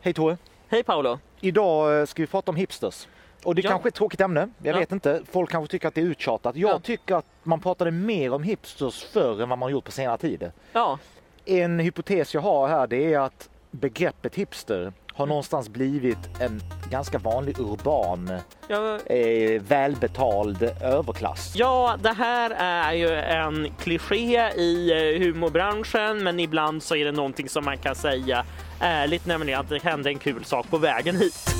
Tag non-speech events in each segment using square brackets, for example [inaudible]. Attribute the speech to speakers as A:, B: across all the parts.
A: Hej Tore!
B: Hej Paolo!
A: Idag eh, ska vi prata om hipsters. Och det
B: Ja.
A: kanske är ett tråkigt ämne, jag
B: Ja.
A: vet inte. Folk kanske tycker att det är uttjatat. Jag
B: Ja.
A: tycker att man pratade mer om hipsters förr än vad man gjort på senare tid.
B: Ja,
A: En hypotes jag har här det är att begreppet hipster har
B: Mm.
A: någonstans blivit en ganska vanlig urban,
B: ja,
A: eh, välbetald överklass.
B: ja, det här är ju en kliché i eh, humorbranschen men ibland så är det någonting som man kan säga ärligt, nämligen att det hände en kul sak på vägen hit.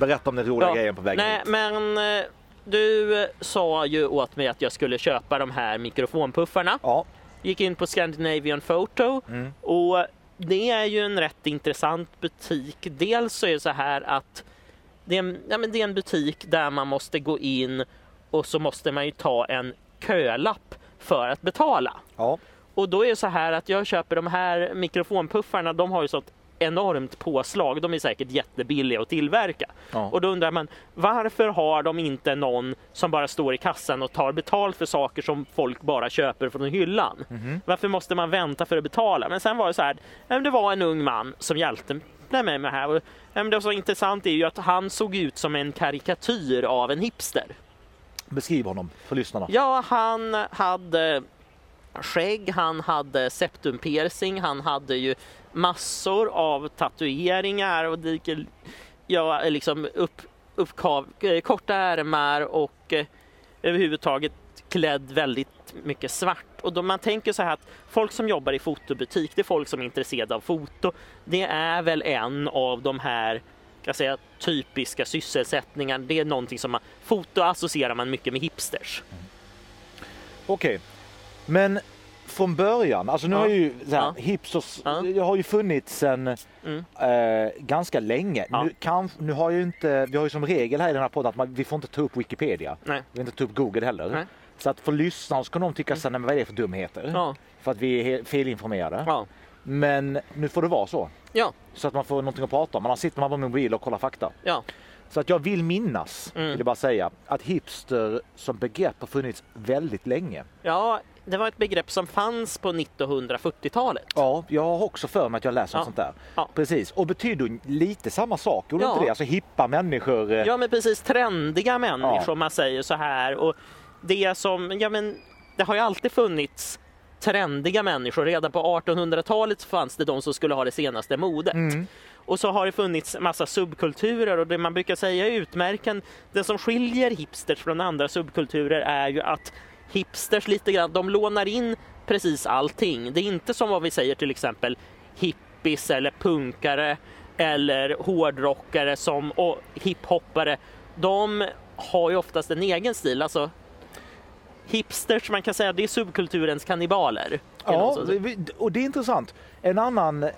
A: Berätta om den roliga grejen på vägen
B: Nej,
A: hit.
B: men eh, du sa ju åt mig att jag skulle köpa de här mikrofonpuffarna.
A: Ja,
B: Gick in på Scandinavian Photo
A: Mm.
B: och det är ju en rätt intressant butik. Dels så är det så här att det är, en, ja, men det är en butik där man måste gå in och så måste man ju ta en kölapp för att betala.
A: ja.
B: Och då är det så här att jag köper de här mikrofonpuffarna, de har ju sånt enormt påslag. De är säkert jättebilliga att tillverka.
A: Ja.
B: Och då undrar man varför har de inte någon som bara står i kassan och tar betalt för saker som folk bara köper från hyllan? Varför måste man vänta för att betala? Men sen var det så här, ja, men det var en ung man som hjälpte mig med det här. Och, ja, men det som var intressant är ju att han såg ut som en karikatyr av en hipster.
A: Beskriv honom för lyssnarna.
B: Ja, han hade skägg, han hade septumpiercing, han hade ju massor av tatueringar och det- ja, liksom upp, uppkav, eh, korta ärmar och eh, överhuvudtaget klädd väldigt mycket svart. Och då man tänker så här att folk som jobbar i fotobutik, det är folk som är intresserade av foto. Det är väl en av de här kan jag säga, typiska sysselsättningarna. Det är någonting som man, foto associerar man mycket med hipsters.
A: Okej, men från början, alltså nu
B: Ja.
A: har ju så här,
B: Ja.
A: hipsters,
B: Ja.
A: jag har ju funnits sedan
B: Mm.
A: eh, ganska länge.
B: Ja.
A: Nu, kan, nu har ju inte, vi har ju som regel här i den här podden att man, vi får inte ta upp Wikipedia.
B: Nej.
A: Vi får inte ta upp Google heller.
B: Nej. Mm.
A: Så att för lyssnarna så kan de tycka sen, "Men vad är det för dumheter?
B: Ja.
A: För att vi är he- felinformerade.
B: Ja.
A: Men nu får det vara så.
B: Ja.
A: Så att man får någonting att prata om. Annars sitter man bara med mobil och kollar fakta.
B: Ja.
A: Så att jag vill minnas,
B: Mm.
A: vill jag bara säga, att hipster som begrepp har funnits väldigt länge.
B: ja, det var ett begrepp som fanns på 1940-talet.
A: Ja, jag har också för mig att jag läser
B: Ja.
A: om sånt där.
B: Ja.
A: Precis, och betyder ju lite samma sak, gjorde
B: Ja.
A: inte det? Alltså hippa människor. eh,
B: Ja, men precis. Trendiga människor,
A: Ja.
B: man säger så här. Och det som, ja men, det har ju alltid funnits trendiga människor. Redan på 1800-talet fanns det de som skulle ha det senaste modet.
A: Mm.
B: Och så har det funnits massa subkulturer och det man brukar säga är utmärken. Det som skiljer hipsters från andra subkulturer är ju att hipsters lite grann, de lånar in precis allting. Det är inte som vad vi säger till exempel hippies eller punkare eller hårdrockare som, och hiphoppare. De har ju oftast en egen stil. Alltså, hipsters, man kan säga det är subkulturens kannibaler.
A: Ja,
B: Eller något
A: vi-
B: sånt.
A: vi- och det är intressant. En annan eh,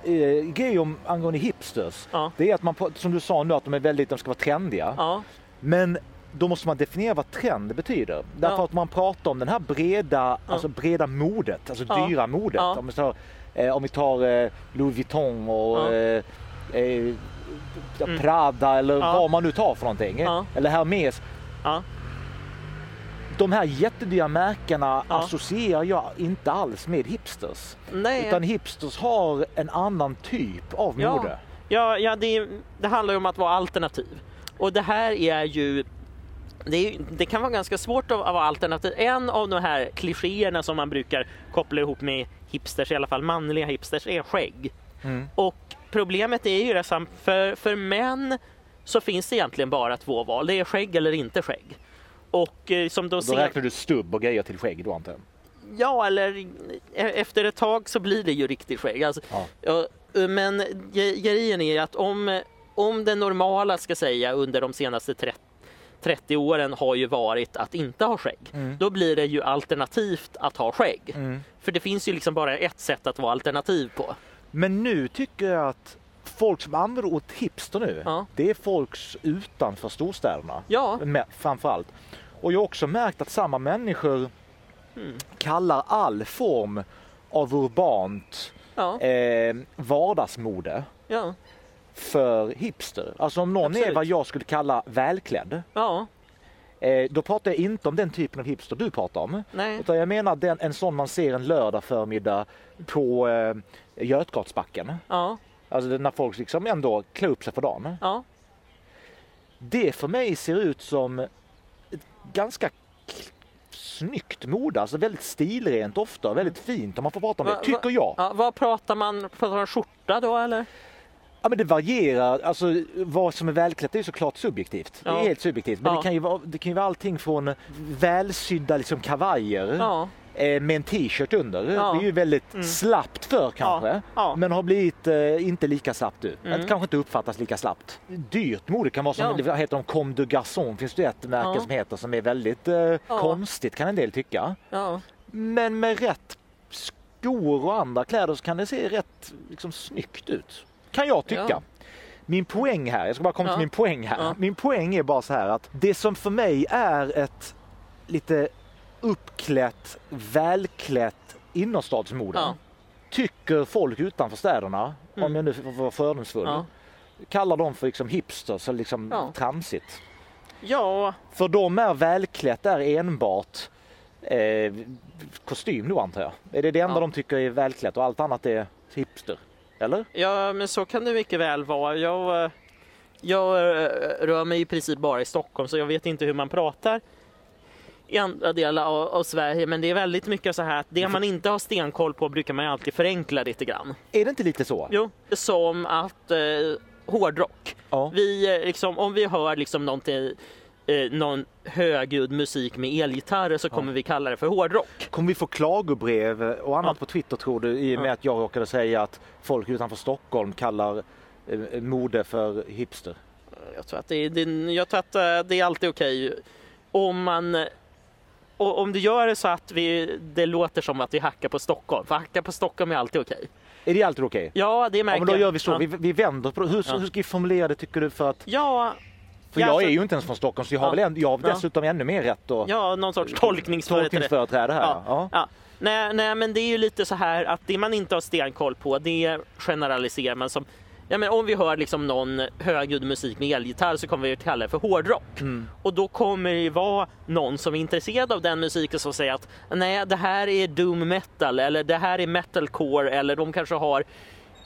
A: grej om, angående hipsters,
B: Ja.
A: det är att man, på- som du sa nu, att de är väldigt, de ska vara trendiga.
B: ja.
A: Men då måste man definiera vad trend betyder. Därför
B: Ja.
A: att man pratar om den här breda, alltså breda modet, alltså
B: Ja.
A: dyra modet.
B: Ja.
A: Om, vi tar, eh, om vi tar eh, Louis Vuitton och
B: Ja. Mm.
A: eh, eh, Prada eller
B: Ja.
A: vad man nu tar för någonting.
B: Ja.
A: Eller Hermes.
B: ja.
A: De här jättedyra märkena
B: Ja.
A: associerar jag inte alls med hipsters.
B: Nej.
A: Utan hipsters har en annan typ av mode.
B: Ja, ja det, är- det handlar ju om att vara alternativ. Och det här är ju det, är, ju- det kan vara ganska svårt att, att vara alternativ. En av de här klichéerna som man brukar koppla ihop med hipsters, i alla fall manliga hipsters, är skägg.
A: Mm.
B: Och problemet är ju det sam- för, för män så finns det egentligen bara två val. Det är skägg eller inte skägg. Och eh, som de
A: Då räknar du stubb och grejer till skägg då antar jag.
B: Ja, eller e- efter ett tag så blir det ju riktigt skägg. Alltså,
A: Ja.
B: ja. men ge- grejen är att om, om det normala ska säga under de senaste 30 30 åren har ju varit att inte ha skägg. Då blir det ju alternativt att ha skägg. För det finns ju liksom bara ett sätt att vara alternativ på.
A: Men nu tycker jag att folk som använder ordet hipster nu,
B: Ja.
A: det är folk s- utanför storstäderna.
B: Ja.
A: Med, framförallt. Och jag har också märkt att samma människor
B: Hmm.
A: kallar all form av urbant
B: Ja,
A: eh, vardagsmode
B: ja,
A: för hipster. Alltså om någon är
B: Absolut.
A: vad jag skulle kalla välklädd
B: ja,
A: eh, Eh, då pratar jag inte om den typen av hipster du pratar om.
B: Nej.
A: Utan jag menar den, en sån man ser en lördag förmiddag på eh, Götgatsbacken.
B: Ja,
A: Alltså när folk liksom ändå klär upp sig för dagen.
B: ja.
A: Det för mig ser ut som ett ganska k- snyggt mode, alltså väldigt stilrent ofta, väldigt fint om man får prata om
B: Va- va-
A: det, tycker jag.
B: ja. Vad pratar man, pratar man skjorta då eller?
A: Ja men det varierar, alltså vad som är välklätt är ju såklart subjektivt. Det
B: Ja.
A: är helt subjektivt. Men
B: Ja.
A: det, kan ju vara, det kan ju vara allting från välsydda liksom kavajer
B: Ja,
A: eh, med en t-shirt under.
B: Ja.
A: Det är ju väldigt
B: Mm.
A: slappt för kanske.
B: ja.
A: Men har blivit eh, inte lika slappt nu.
B: Mm.
A: Det kanske inte uppfattas lika slappt. Dyrt mode kan vara som,
B: Ja.
A: det heter de Comme de Garçon finns det ju ett märke
B: Ja.
A: som heter som är väldigt eh, konstigt kan en del tycka.
B: ja.
A: Men med rätt skor och andra kläder så kan det se rätt liksom, snyggt ut. Kan jag tycka.
B: Ja.
A: Min poäng här, jag ska bara komma
B: Ja.
A: till min poäng här.
B: Ja.
A: Min poäng är bara så här att det som för mig är ett lite uppklätt, välklätt innerstadsmode
B: Ja.
A: tycker folk utanför städerna,
B: Mm.
A: om jag nu får vara fördomsfull,
B: ja.
A: kallar dem för liksom hipsters eller liksom
B: Ja.
A: tramsigt.
B: ja.
A: För de är välklätt är enbart eh, kostym då antar jag. Är det det enda
B: Ja.
A: de tycker är välklätt och allt annat är hipster? Eller?
B: Ja, men så kan det mycket väl vara. Jag, eh, jag eh, rör mig i princip bara i Stockholm så jag vet inte hur man pratar i andra delar av, av Sverige. Men det är väldigt mycket så här att det man inte har stenkoll på brukar man ju alltid förenkla lite grann.
A: Är det inte lite så?
B: Jo. Som att eh, hårdrock.
A: Ja.
B: Vi, eh, liksom, om vi hör liksom någonting, eh, någon högljudd musik med elgitarrer så kommer vi kalla det för hårdrock.
A: Kommer vi få klagobrev och annat
B: Ja.
A: på Twitter tror du i och med
B: Ja.
A: att jag råkade säga att folk utanför Stockholm kallar eh, mode för hipster?
B: Jag tror att det, det, jag tror att eh, det är alltid okej om man och om du gör det så att vi, det låter som att vi hackar på Stockholm, för hacka på Stockholm är alltid okej.
A: Är det alltid okej?
B: Ja, det märker
A: Ja, men då
B: jag.
A: gör vi så,
B: Ja.
A: vi, vi vänder på det. Hur,
B: Ja.
A: hur ska vi formulera det tycker du? För, att,
B: Ja,
A: för
B: Ja,
A: jag
B: alltså-
A: är ju inte ens från Stockholm så jag har,
B: Ja.
A: väl en, jag har
B: Ja.
A: dessutom ännu mer rätt att
B: ja, någon sorts tolkningsföreträde.
A: tolkningsföreträde här.
B: Ja.
A: Ja. Ja.
B: Ja. Nej, nej, men det är ju lite så här att det man inte har stenkoll på, det generaliserar man som Ja, men om vi hör liksom någon högljudd musik med elgitarr så kommer vi att kalla det för hårdrock.
A: Mm.
B: Och då kommer det ju vara någon som är intresserad av den musiken som säger att nej, det här är doom metal eller det här är metalcore eller de kanske har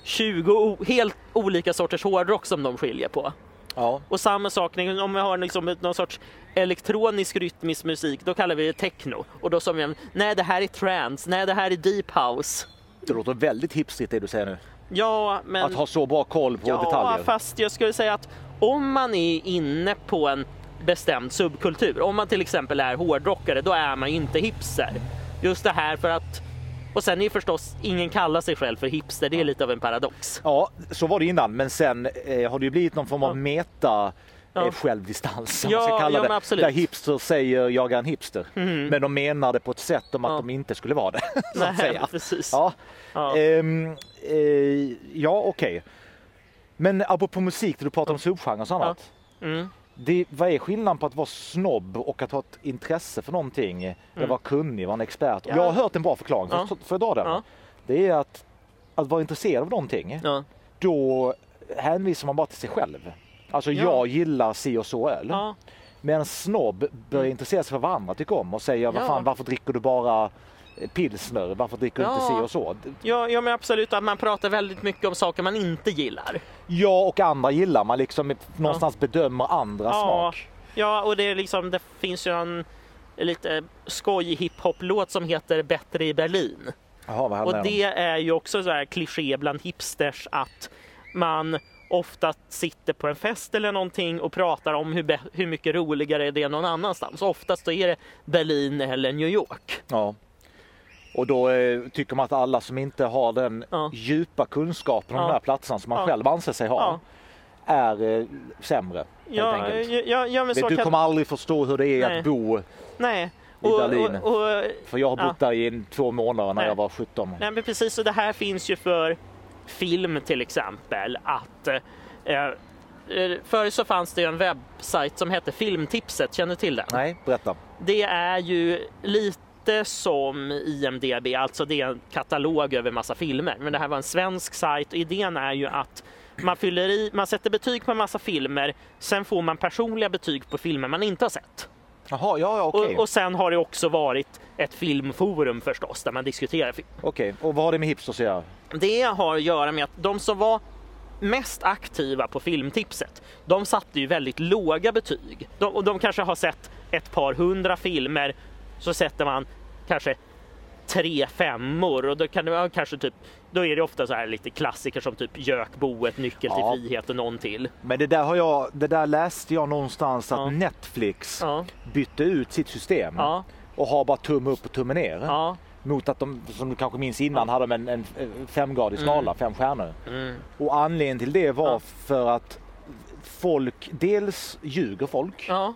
B: 20 o- helt olika sorters hårdrock som de skiljer på.
A: Ja.
B: Och samma sak när- om vi har liksom ett- någon sorts elektronisk rytmisk musik, då kallar vi det techno. Och då sa vi, nej det här är trance, nej det här är deep house.
A: Det låter väldigt hipstrigt det du säger nu.
B: Ja, men...
A: Att ha så bra koll på
B: ja,
A: detaljer.
B: fast jag skulle säga att om man är inne på en bestämd subkultur, om man till exempel är hårdrockare, då är man ju inte hipster. Just det här för att... Och sen är ju förstås, ingen kallar sig själv för hipster, det är lite av en paradox.
A: Ja, så var det innan men sen eh, har det ju blivit någon form av meta
B: Ja.
A: eh, självdistans som
B: Ja,
A: man ska kalla
B: ja, men
A: det.
B: absolut. Mhm.
A: Där hipster säger jag är en hipster. Men de menar det på ett sätt om att
B: Ja.
A: de inte skulle vara det. [laughs] så att
B: Nej,
A: säga.
B: [laughs] precis.
A: Ja,
B: Ja.
A: Ehm, eh, ja okej. Men apropå musik, där du pratar om subgenrer och annat.
B: Mm.
A: Det, vad är skillnaden på att vara snobb och att ha ett intresse för någonting? Att vara kunnig, vara en expert.
B: Mm. Ja.
A: Jag har hört en bra förklaring,
B: Ja.
A: ja. får jag dra den?
B: Ja.
A: Det är att, att vara intresserad av någonting,
B: Ja.
A: då hänvisar man bara till sig själv. Alltså
B: Ja.
A: jag gillar si och så öl.
B: Ja.
A: Men en snobb börjar intressera sig för vad andra tycker om och säga vad
B: Ja.
A: fan, varför dricker du bara pilsner? Varför dricker du inte
B: Ja.
A: si och så?
B: Ja, ja men absolut att man pratar väldigt mycket om saker man inte gillar.
A: jag och andra gillar. Man liksom någonstans bedömer andra
B: Ja,
A: smak.
B: ja och det, är liksom, det finns ju en lite skojig hiphop-låt som heter Bättre i Berlin.
A: Jaha, vad
B: Och
A: handlar det
B: det är ju också så här kliché bland hipsters att man ofta sitter på en fest eller någonting och pratar om hur, bä- hur mycket roligare det är någon annanstans. Oftast då är det Berlin eller New York.
A: om? Ja. Och då eh, tycker man att alla som inte har den
B: Ja.
A: djupa kunskapen om
B: Ja.
A: de här platserna som man
B: Ja.
A: själv anser sig ha är eh, sämre. helt
B: ja,
A: enkelt.
B: ja, ja, men så
A: du
B: kan...
A: kommer aldrig förstå hur det är
B: Nej.
A: att bo,
B: Nej.
A: i
B: Och,
A: Berlin.
B: och, och
A: för jag har bott
B: Ja.
A: där i en- två månader när
B: Nej.
A: jag var 17.
B: Nej men precis, så det här finns ju för film till exempel. Att, eh, eh, förr så fanns det ju en webbsajt som hette Filmtipset, känner du till den?
A: Nej, berätta.
B: Det är ju lite som IMDB, alltså det är en katalog över massa filmer. Men det här var en svensk sajt och idén är ju att man, fyller i, man sätter betyg på en massa filmer, sen får man personliga betyg på filmer man inte har sett.
A: Jaha, ja, ja okej.
B: Och, och sen har det också varit ett filmforum förstås där man diskuterar film.
A: Okej, och vad har det med hipsters att göra?
B: Det har att göra med att de som var mest aktiva på filmtipset, de satte ju väldigt låga betyg. De, och de kanske har sett ett par hundra filmer, så sätter man kanske tre femmor och då kan det vara kanske typ, då är det ofta så här lite klassiker som typ Jökboet, Nyckel
A: Ja.
B: till frihet och någon till.
A: Men det där, har jag, det där läste jag någonstans att
B: Ja.
A: Netflix
B: Ja,
A: bytte ut sitt system
B: ja,
A: och har bara tumme upp och tumme ner.
B: ja.
A: Mot att de, som du kanske minns innan, hade de en, en en femgradig skala, fem stjärnor.
B: Mm.
A: Och anledningen till det var
B: Ja.
A: för att folk, dels ljuger folk
B: ja.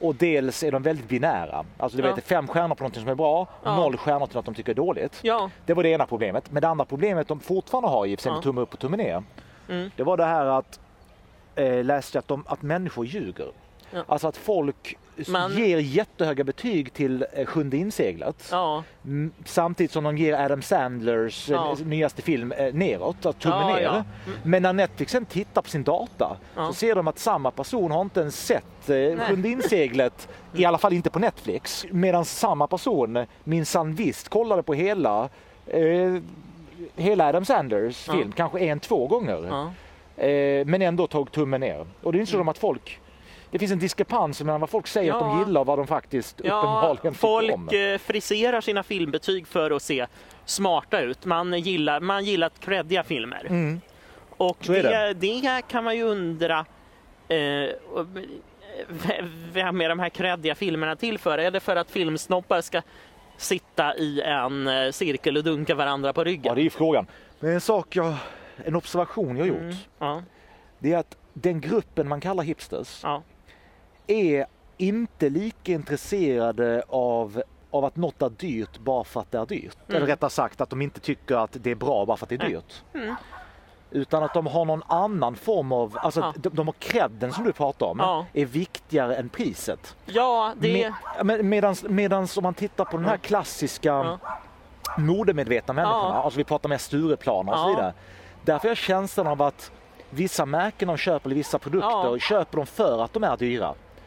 A: och dels är de väldigt binära. Alltså du
B: Ja.
A: vet, det är fem stjärnor på någonting som är bra,
B: Ja.
A: noll stjärnor till något de tycker är dåligt.
B: Ja,
A: Det var det ena problemet. Men det andra problemet de fortfarande har, i och för sig med
B: Ja.
A: tumme upp och tumme ner,
B: Mm.
A: det var det här att eh, läste jag att, de, att människor ljuger.
B: Ja.
A: Alltså att folk s-
B: Man-
A: ger jättehöga betyg till eh, Sjunde inseglat
B: ja,
A: m- Mm, samtidigt som de ger Adam Sandlers eh,
B: Ja.
A: nyaste film eh, neråt, alltså tummen
B: Ja,
A: ner.
B: ja.
A: Men när Netflix sen tittar på sin data
B: Ja.
A: så ser de att samma person har inte ens sett eh, Sjunde inseglet, i alla fall inte på Netflix. Medan samma person minsann visst kollade på hela eh, Hela Adam Sanders
B: Ja.
A: film, kanske en, två gånger.
B: ja. Mm.
A: Eh, men ändå tog tummen ner. Och det är inte så att folk... Det finns en diskrepans mellan vad folk säger att de
B: Ja.
A: gillar och vad de faktiskt
B: ja
A: uppenbarligen tycker om.
B: folk eh, friserar sina filmbetyg för att se smarta ut. Man gillar, man gillar creddiga filmer.
A: Mm.
B: Och
A: Så
B: det,
A: är
B: det. kan man ju undra eh, och- v- vem är de här creddiga filmerna till för? Är det för att filmsnoppar ska sitta i en eh, cirkel och dunka varandra på
A: Ja,
B: ryggen?
A: det är ju frågan. Men en sak jag, en observation jag gjort,
B: Mm, ja,
A: det är att den gruppen man kallar hipsters
B: ja,
A: är inte lika intresserade av, av att något är dyrt bara för att det är dyrt. Eller rättare sagt att de inte tycker att det är bra bara för att det är
B: Nej.
A: dyrt. Utan att de har någon annan form av, alltså
B: Ja.
A: de, de har credden som du pratar om,
B: Ja.
A: är viktigare än priset.
B: ja det
A: Med, med, medans, medans om man tittar på den här klassiska
B: Ja.
A: modemedvetna människorna,
B: Ja.
A: alltså vi pratar med Stureplan och så
B: Ja.
A: vidare. Därför har jag känslan av att vissa märken de köper, eller vissa produkter,
B: Ja.
A: köper de för att de är dyra.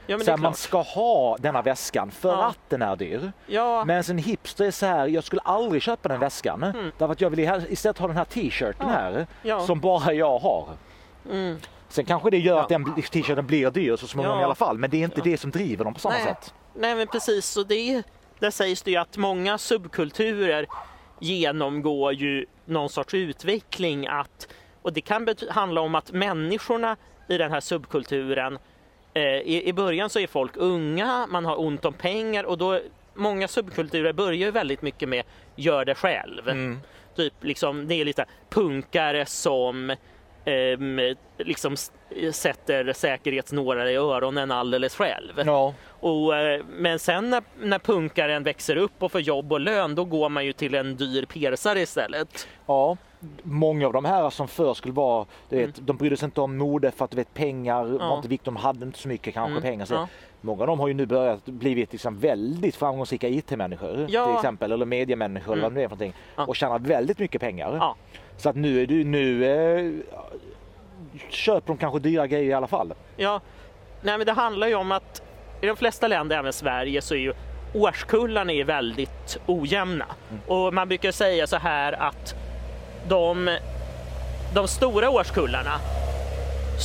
B: ja, men
A: så
B: det
A: här,
B: är
A: man
B: klart.
A: ska ha denna väskan för
B: Ja.
A: att den är dyr.
B: Ja,
A: Men en hipster är så här, jag skulle aldrig köpa den väskan. Därför att jag vill i- istället ha den här t-shirten här,
B: Mm. Ja.
A: som bara jag har.
B: mm,
A: Sen kanske det gör
B: Ja.
A: att den bli- t-shirten blir dyr så småningom
B: Ja.
A: i alla fall, men det är inte det som driver dem på samma
B: Nej.
A: sätt.
B: nej men precis, så det, där sägs det ju att många subkulturer genomgår ju någon sorts utveckling att, och det kan bety- handla om att människorna i den här subkulturen eh, i, I början så är folk unga, man har ont om pengar och då många subkulturer börjar ju väldigt mycket med gör det själv.
A: Mm.
B: Typ liksom, det är lite punkare som ehm, liksom s- sätter säkerhetsnålar i öronen alldeles själv.
A: Ja.
B: Och, eh, men sen när, när punkaren växer upp och får jobb och lön då går man ju till en dyr persare istället.
A: Ja, många av de här som förr skulle vara, du vet, de brydde sig inte om mode för att du vet pengar var
B: Mm. Ja.
A: inte viktigt, de hade inte så mycket kanske
B: Mm,
A: pengar. Så
B: ja.
A: Många av dem har ju nu börjat blivit liksom väldigt framgångsrika IT-människor
B: Ja. Mm.
A: till exempel, eller mediemänniskor eller vad det är för någonting
B: Ja.
A: och tjänar väldigt mycket pengar.
B: Ja.
A: Så att nu är du, nu eh, köper de kanske dyra grejer i alla fall.
B: Ja, nej men det handlar ju om att i de flesta länder, även Sverige, så är ju årskullarna är väldigt ojämna. Och man brukar säga så här att de, de stora årskullarna,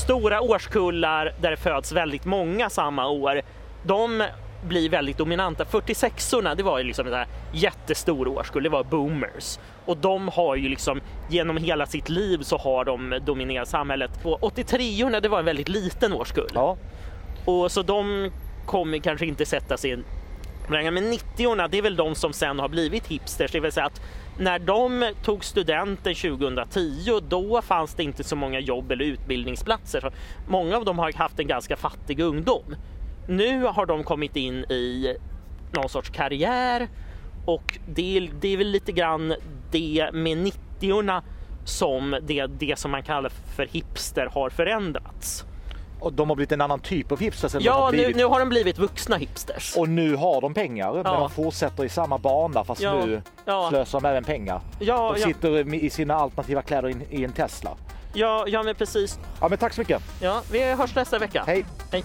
B: stora årskullar där det föds väldigt många samma år, de blir väldigt dominanta. 46orna, det var ju liksom en sån här jättestor årskull, det var boomers. Och de har ju liksom, genom hela sitt liv så har de dominerat samhället. Och 83orna, det var en väldigt liten årskull.
A: Ja,
B: Och så de kommer kanske inte sätta sig i en rang. men 90-orna det är väl de som sen har blivit hipsters, det vill säga att när de tog studenten 2010 då fanns det inte så många jobb eller utbildningsplatser. Så många av dem har haft en ganska fattig ungdom. Nu har de kommit in i någon sorts karriär och det, är- det är väl lite grann det med 90-orna som det, det som man kallar för hipster har förändrats.
A: och de har blivit en annan typ av hipsters än de
B: Ja,
A: har
B: nu,
A: blivit.
B: nu har de blivit vuxna hipsters.
A: Och nu har de pengar, men
B: Ja.
A: de fortsätter i samma bana fast
B: Ja,
A: nu
B: ja.
A: slösar de även pengar.
B: Ja,
A: De
B: ja,
A: sitter i sina alternativa kläder i en- i en Tesla.
B: ja, ja, men precis.
A: Ja, men tack så mycket.
B: Ja, vi hörs nästa vecka.
A: Hej!
B: Hej.